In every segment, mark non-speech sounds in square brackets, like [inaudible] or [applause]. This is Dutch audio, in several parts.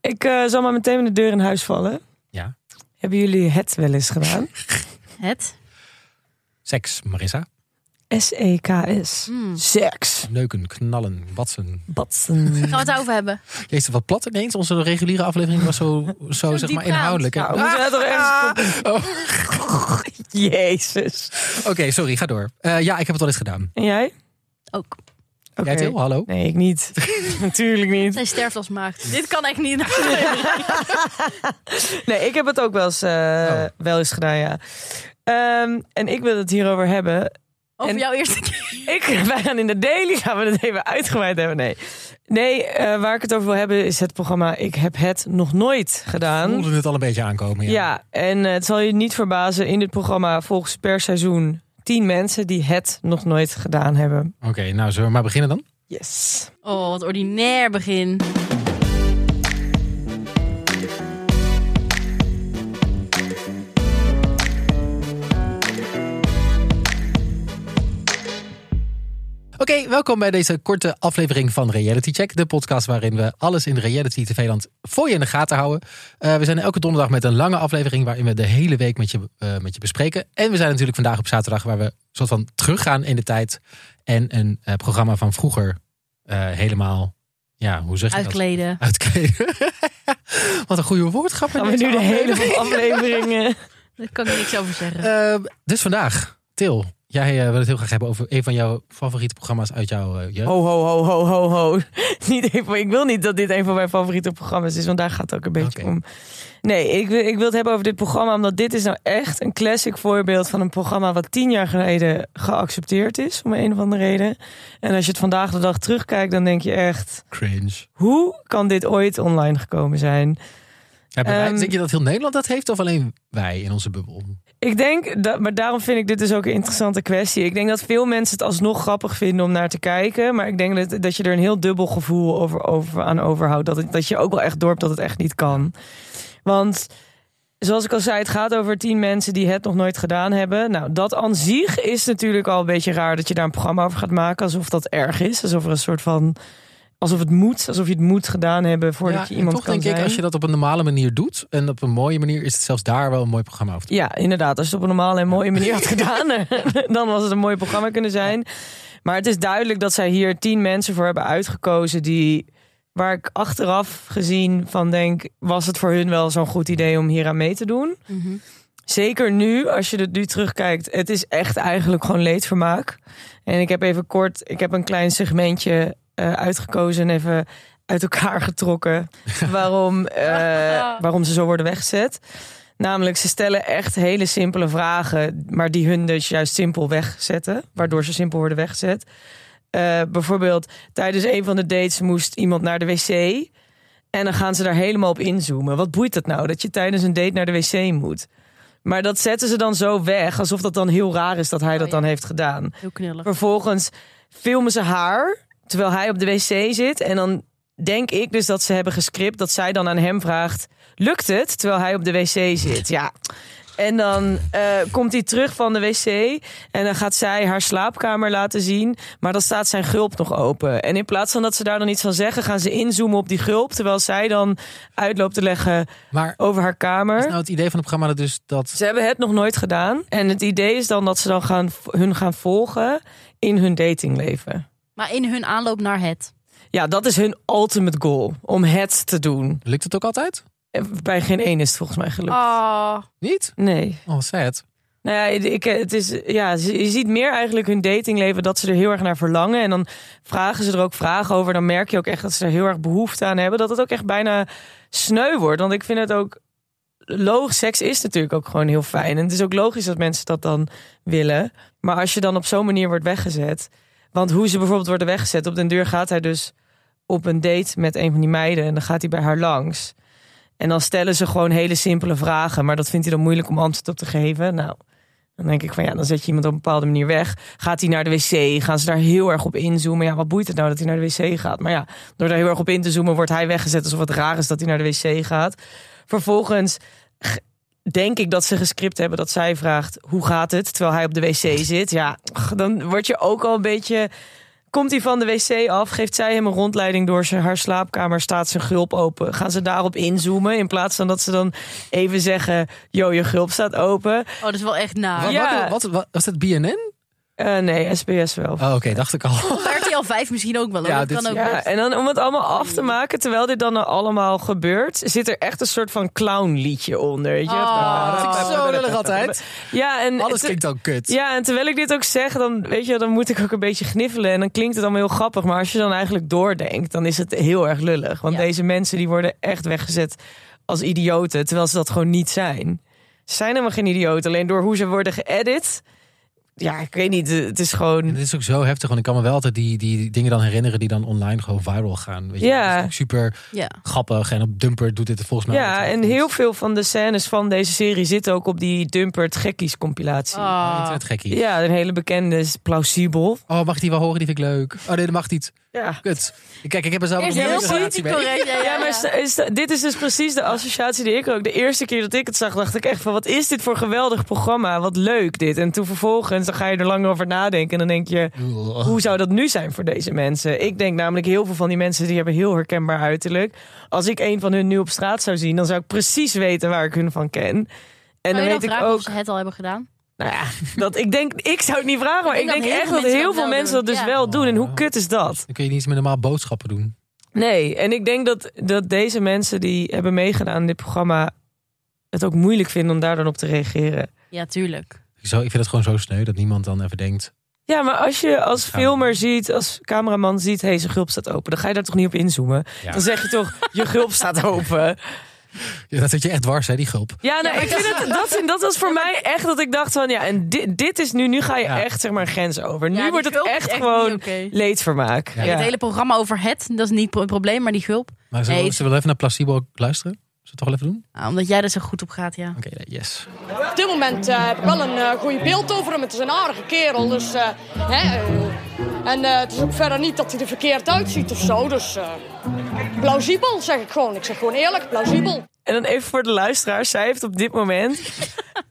Ik eh, zal maar meteen met de deur in huis vallen. Ja. Hebben jullie het wel eens gedaan? Het? Seks, Marissa. S-E-K-S. Hmm. E Seks. Neuken, knallen, batsen. Batsen. Nou, Gaan we het over hebben? Jezus, wat plat ineens. Onze reguliere aflevering was [laughs] zo, zo, zeg maar diepgaand. inhoudelijk. Nou, en- we moeten het toch ergens... Oh, Jezus. Ah! Oké, sorry, ga door. Eh, ja, ik heb het al eens gedaan. En jij? Ook. Oké. Jij, Til, hallo. Nee, ik [laughs] niet. Natuurlijk niet. Zij sterft als maagd. Dit kan echt niet. Oké. [laughs] Nee, ik heb het ook wel eens, eh, Oh. wel eens gedaan, ja. Ehm, en ik wil het hierover hebben. Over En- jouw eerste keer. Ik, [laughs] wij gaan in de daily, gaan we het even uitgebreid hebben. Nee, nee eh, waar ik het over wil hebben is het programma Ik heb het nog nooit We gedaan. voelden het al een beetje aankomen. Ja, Ja. en eh, het zal je niet verbazen, in dit programma volgens per seizoen tien mensen die het nog nooit gedaan hebben. Oké, nou zullen we maar beginnen dan? Yes. Oh, wat ordinair begin. Oké, welkom bij deze korte aflevering van Reality Check. De podcast waarin we alles in reality TV-land voor je in de gaten houden. Eh, we zijn elke donderdag met een lange aflevering waarin we de hele week met je, eh, met je bespreken. En we zijn natuurlijk vandaag op zaterdag waar we soort van teruggaan in de tijd. En een eh, programma van vroeger eh, helemaal, ja, hoe zeg je dat? Uitkleden. Uitkleden. [laughs] Wat een goede Oh, woordgrap. in Gaan we deze nu de aflevering. hele afleveringen. Daar kan ik niks over zeggen. Eh, dus vandaag, Til, jij eh, wil het heel graag hebben over een van jouw favoriete programma's uit jouw eh, jeugd. Ho, ho, ho, ho, ho, ho. [laughs] Niet even, ik wil niet dat dit een van mijn favoriete programma's is, want daar gaat het ook een beetje Oké. om. Nee, ik, wil- ik wil het hebben over dit programma, omdat dit is nou echt een classic voorbeeld van een programma wat tien jaar geleden geaccepteerd is, om een of andere reden. En als je het vandaag de dag terugkijkt, dan denk je echt, Cringe. hoe kan dit ooit online gekomen zijn? Ja, maar wij- Ehm, denk je dat heel Nederland dat heeft of alleen wij in onze bubbel? Ik denk, dat, maar daarom vind ik dit dus ook een interessante kwestie. Ik denk dat veel mensen het alsnog grappig vinden om naar te kijken. Maar ik denk dat, dat je er een heel dubbel gevoel over, over, aan overhoudt. Dat, het, dat je ook wel echt dorpt dat het echt niet kan. Want zoals ik al zei, het gaat over tien mensen die het nog nooit gedaan hebben. Nou, dat aan zich is natuurlijk al een beetje raar dat je daar een programma over gaat maken. Alsof dat erg is. Alsof er een soort van... Alsof het moet, alsof je het moet gedaan hebben voordat Ja, je en iemand toch kan denk zijn. ik, als je dat op een normale manier doet en op een mooie manier, is het zelfs daar wel een mooi programma over. te- Ja, inderdaad. Als je het op een normale en mooie manier had gedaan, eh, dan was het een mooi programma kunnen zijn. Maar het is duidelijk dat zij hier tien mensen voor hebben uitgekozen die. Waar ik achteraf gezien van denk, was het voor hun wel zo'n goed idee om hier aan mee te doen. Mhm. Zeker nu, als je het nu terugkijkt, het is echt eigenlijk gewoon leedvermaak. En ik heb even kort, ik heb een klein segmentje eh, uitgekozen en even uit elkaar getrokken waarom, eh, waarom ze zo worden weggezet. Namelijk, ze stellen echt hele simpele vragen, maar die hun dus juist simpel wegzetten, waardoor ze simpel worden weggezet. Eh, bijvoorbeeld, tijdens een van de dates moest iemand naar de wc. En dan gaan ze daar helemaal op inzoomen. Wat boeit dat nou, dat je tijdens een date naar de wc moet? Maar dat zetten ze dan zo weg, alsof dat dan heel raar is dat hij Oh, dat ja. dan heeft gedaan. Heel knullig. Vervolgens filmen ze haar terwijl hij op de wc zit. En dan denk ik dus dat ze hebben gescript dat zij dan aan hem vraagt: Lukt het terwijl hij op de wc zit? Ja. En dan eh, komt hij terug van de wc en dan gaat zij haar slaapkamer laten zien. Maar dan staat zijn gulp nog open. En in plaats van dat ze daar dan iets van zeggen, gaan ze inzoomen op die gulp. Terwijl zij dan uitloopt te leggen Maar over haar kamer. is nou het idee van het programma dat dus dat... Ze hebben het nog nooit gedaan. En het idee is dan dat ze dan gaan, hun gaan volgen in hun datingleven. Maar in hun aanloop naar het. Ja, dat is hun ultimate goal. Om het te doen. Lukt het ook altijd? En Bij geen één is het volgens mij gelukt. Oh. Niet? Nee. Oh, sad. Nou ja, ik, het is, ja, ze- je ziet meer eigenlijk hun datingleven dat ze er heel erg naar verlangen. En dan vragen ze er ook vragen over. Dan merk je ook echt dat ze er heel erg behoefte aan hebben. Dat het ook echt bijna sneu wordt. Want ik vind het ook. Logisch, seks is natuurlijk ook gewoon heel fijn. En het is ook logisch dat mensen dat dan willen. Maar als je dan op zo'n manier wordt weggezet. Want hoe ze bijvoorbeeld worden weggezet. Op den deur gaat hij dus op een date met een van die meiden. En dan gaat hij bij haar langs. En dan stellen ze gewoon hele simpele vragen. Maar dat vindt hij dan moeilijk om antwoord op te geven. Nou, dan denk ik van ja, dan zet je iemand op een bepaalde manier weg. Gaat hij naar de wc? Gaan ze daar heel erg op inzoomen? Ja, wat boeit het nou dat hij naar de wc gaat? Maar ja, door daar heel erg op in te zoomen, wordt hij weggezet alsof het raar is dat hij naar de wc gaat. Vervolgens g- denk ik dat ze gescript hebben dat zij vraagt: hoe gaat het? Terwijl hij op de wc zit. Ja, ach, dan word je ook al een beetje Komt hij van de wc af, geeft zij hem een rondleiding door zijn, haar slaapkamer, staat zijn gulp open. Gaan ze daarop inzoomen in plaats van dat ze dan even zeggen, yo, je gulp staat open. Oh, dat is wel echt Wat, naar. Ah, Ja. wat, wat- wat- was dat BNN? Eh, nee, SBS wel. Oh, oké, dacht ik al. RTL 5 misschien ook wel. hoor. Ja, dat dit- kan ook Ja, eh, best. en dan om het allemaal af te maken, terwijl dit dan allemaal gebeurt, zit er echt een soort van clownliedje onder. Weet je? Oh, [laughs] dat vind ik [laughs] zo lullig altijd. Ja, en Alles te- klinkt dan kut. ja, en terwijl ik dit ook zeg, dan, weet je, dan moet ik ook een beetje gniffelen. En dan klinkt het allemaal heel grappig. Maar als je dan eigenlijk doordenkt, dan is het heel erg lullig. Want Ja. deze mensen die worden echt weggezet als idioten, terwijl ze dat gewoon niet zijn. Ze zijn helemaal geen idioten. Alleen door hoe ze worden geëdit. Ja, ik weet niet. Het is En gewoon. dit is ook zo heftig, want ik kan me wel altijd die, die dingen dan herinneren die dan online gewoon viral gaan. Weet je? Ja. Dat is ook super Ja. grappig en op Dumper doet dit er Nou, volgens mij. Ja, altijd en goed. heel veel van de scènes van deze serie zitten ook op die Dumpert Gekkies compilatie. Ah. Internet gekkie. Ja, een hele bekende is plausibel. Oh, mag ik die wel horen? Die vind ik leuk. Oh nee, dat mag niet. Ja. Kut. Kijk, ik heb er zelf nog Ah. Eerst niet heel een relatie politiek mee. correct. Ja, ja, Ja, maar is- ja. is- dit is dus precies de associatie die ik ook. De eerste keer dat ik het zag, dacht ik echt van... wat is dit voor geweldig programma? Wat leuk dit. En toen vervolgens, dan ga je er lang over nadenken... en dan denk je, hoe zou dat nu zijn voor deze mensen? Ik denk namelijk heel veel van die mensen... die hebben heel herkenbaar uiterlijk. Als ik een van hun nu op straat zou zien... dan zou ik precies weten waar ik hun van ken. En Kan dan je weet ik vragen ook... of ze het al hebben gedaan? Nou ja, [laughs] dat, ik denk... Ik zou het niet vragen, maar Ik ik denk denk dat echt dat heel veel mensen heel veel dat wel mensen dat doen. dus Ja. wel doen. En Ja. hoe kut is dat? Dan kun je niet eens met normaal boodschappen doen. Nee, en ik denk dat, dat deze mensen die hebben meegedaan in dit programma het ook moeilijk vinden om daar dan op te reageren. Ja, tuurlijk. Ik, zo, ik vind het gewoon zo sneu dat niemand dan even denkt. Ja, maar als je als Gaan we filmer ziet, als cameraman ziet, hé, zijn gulp staat open, dan ga je daar toch niet op inzoomen. Ja. Dan zeg je toch, je gulp [laughs] staat open. Ja, dat zit je echt dwars, hè, die gulp. Ja, nou, ik vind het, dat, dat was voor mij echt dat ik dacht van, ja, en dit, dit is nu, nu ga je Ja. echt zeg maar grens over. Ja, Nu die wordt het gulp is echt niet gewoon oké. leedvermaak. Ja. Ja. Het hele programma over het, dat is niet pro- een probleem, maar die gulp. Maar zullen we, Nee. zullen we wel even naar Placebo luisteren? Zullen we het toch wel even doen? Ah, omdat jij er zo goed op gaat, ja. Oké, nee, yes. Op dit moment eh, heb ik wel een goed goede beeld over hem. Het is een aardige kerel. Dus, eh, hè, eh, en eh, het is ook verder niet dat hij er verkeerd uitziet of zo. Dus eh, plausibel zeg ik gewoon. Ik zeg gewoon eerlijk, plausibel. En dan even voor de luisteraar. Zij heeft op dit moment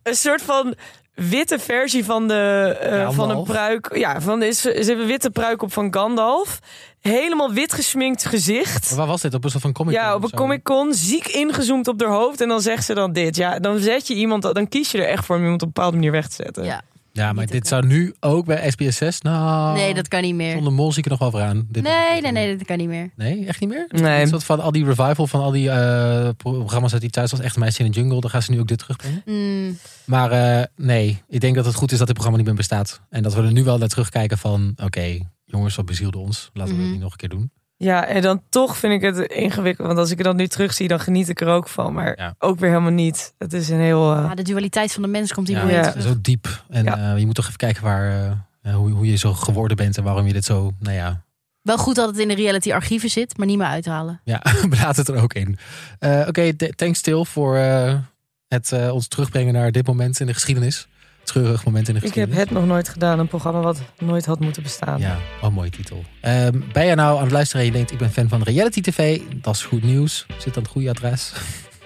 een soort van witte versie van de eh, Ja, van een Malf. pruik. Ja, van is ze heeft een witte pruik op van Gandalf. Helemaal wit gesminkt Maar gezicht. waar was dit? Op een soort van comic Ja, op een Comic Con, ziek ingezoomd op haar hoofd. En dan zegt ze dan dit. Ja, dan zet je iemand, dan kies je er echt voor om iemand op een bepaalde manier weg te zetten. ja. Ja, maar Niet dit oké. zou nu ook bij SBS6. Nou, Nee, dat kan niet meer. zonder mol zie ik er nog wel voor aan. Dit- Nee, nee, nee, dat kan niet meer. Nee, echt niet meer? Nee. Een soort van al die revival van al die eh, programma's uit die thuis was. Echt Meisje in de Jungle, daar gaan ze nu ook dit terugbrengen. Mm, Maar eh, nee, ik denk dat het goed is dat dit programma niet meer bestaat. En dat we er nu wel naar terugkijken van... Oké, jongens, wat bezielde ons. Laten we Mhm. dat niet nog een keer doen. Ja, en dan toch vind ik het ingewikkeld. Want als ik het dan nu terugzie, dan geniet ik er ook van. Maar Ja. ook weer helemaal niet. Het is een heel... eh, ah, de dualiteit van de mens komt hier Ja, weer Ja. terug. Zo diep. En eh, je moet toch even kijken waar, eh, eh, hoe, hoe je zo geworden bent en waarom je dit zo... Nou ja, Wel goed dat het in de reality archieven zit, maar niet meer uithalen. ja [laughs] we laten het er ook in. Eh, Oké, th- thanks Til voor eh, het eh, ons terugbrengen naar dit moment in de geschiedenis. Treurig moment in de ik geschiedenis. heb het nog nooit gedaan. Een programma wat nooit had moeten bestaan. Ja, wel een mooie titel. Ehm, ben je nou aan het luisteren en je denkt, ik ben fan van reality tv? Dat is goed nieuws. Zit aan het goede adres.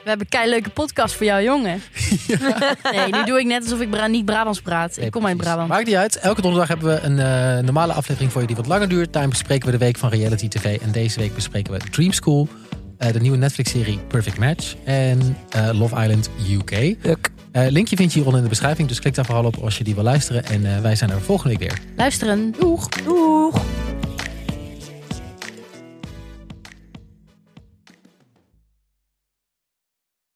We hebben een leuke podcast voor jou, [laughs] jongen. Nee, nu doe ik net alsof ik Bra- niet Brabants praat. ik kom uit precies. Brabant. Maakt niet uit. Elke donderdag hebben we een eh, normale aflevering voor je die wat langer duurt. Daarin bespreken we de week van reality tv. En deze week bespreken we Dream School. eh, de nieuwe Netflix-serie Perfect Match. En eh, Love Island UK. Eh, Uk. linkje vind je hieronder in de beschrijving. Dus klik daar vooral op als je die wil luisteren. En eh, wij zijn er volgende week weer. Luisteren. Doeg. Doeg!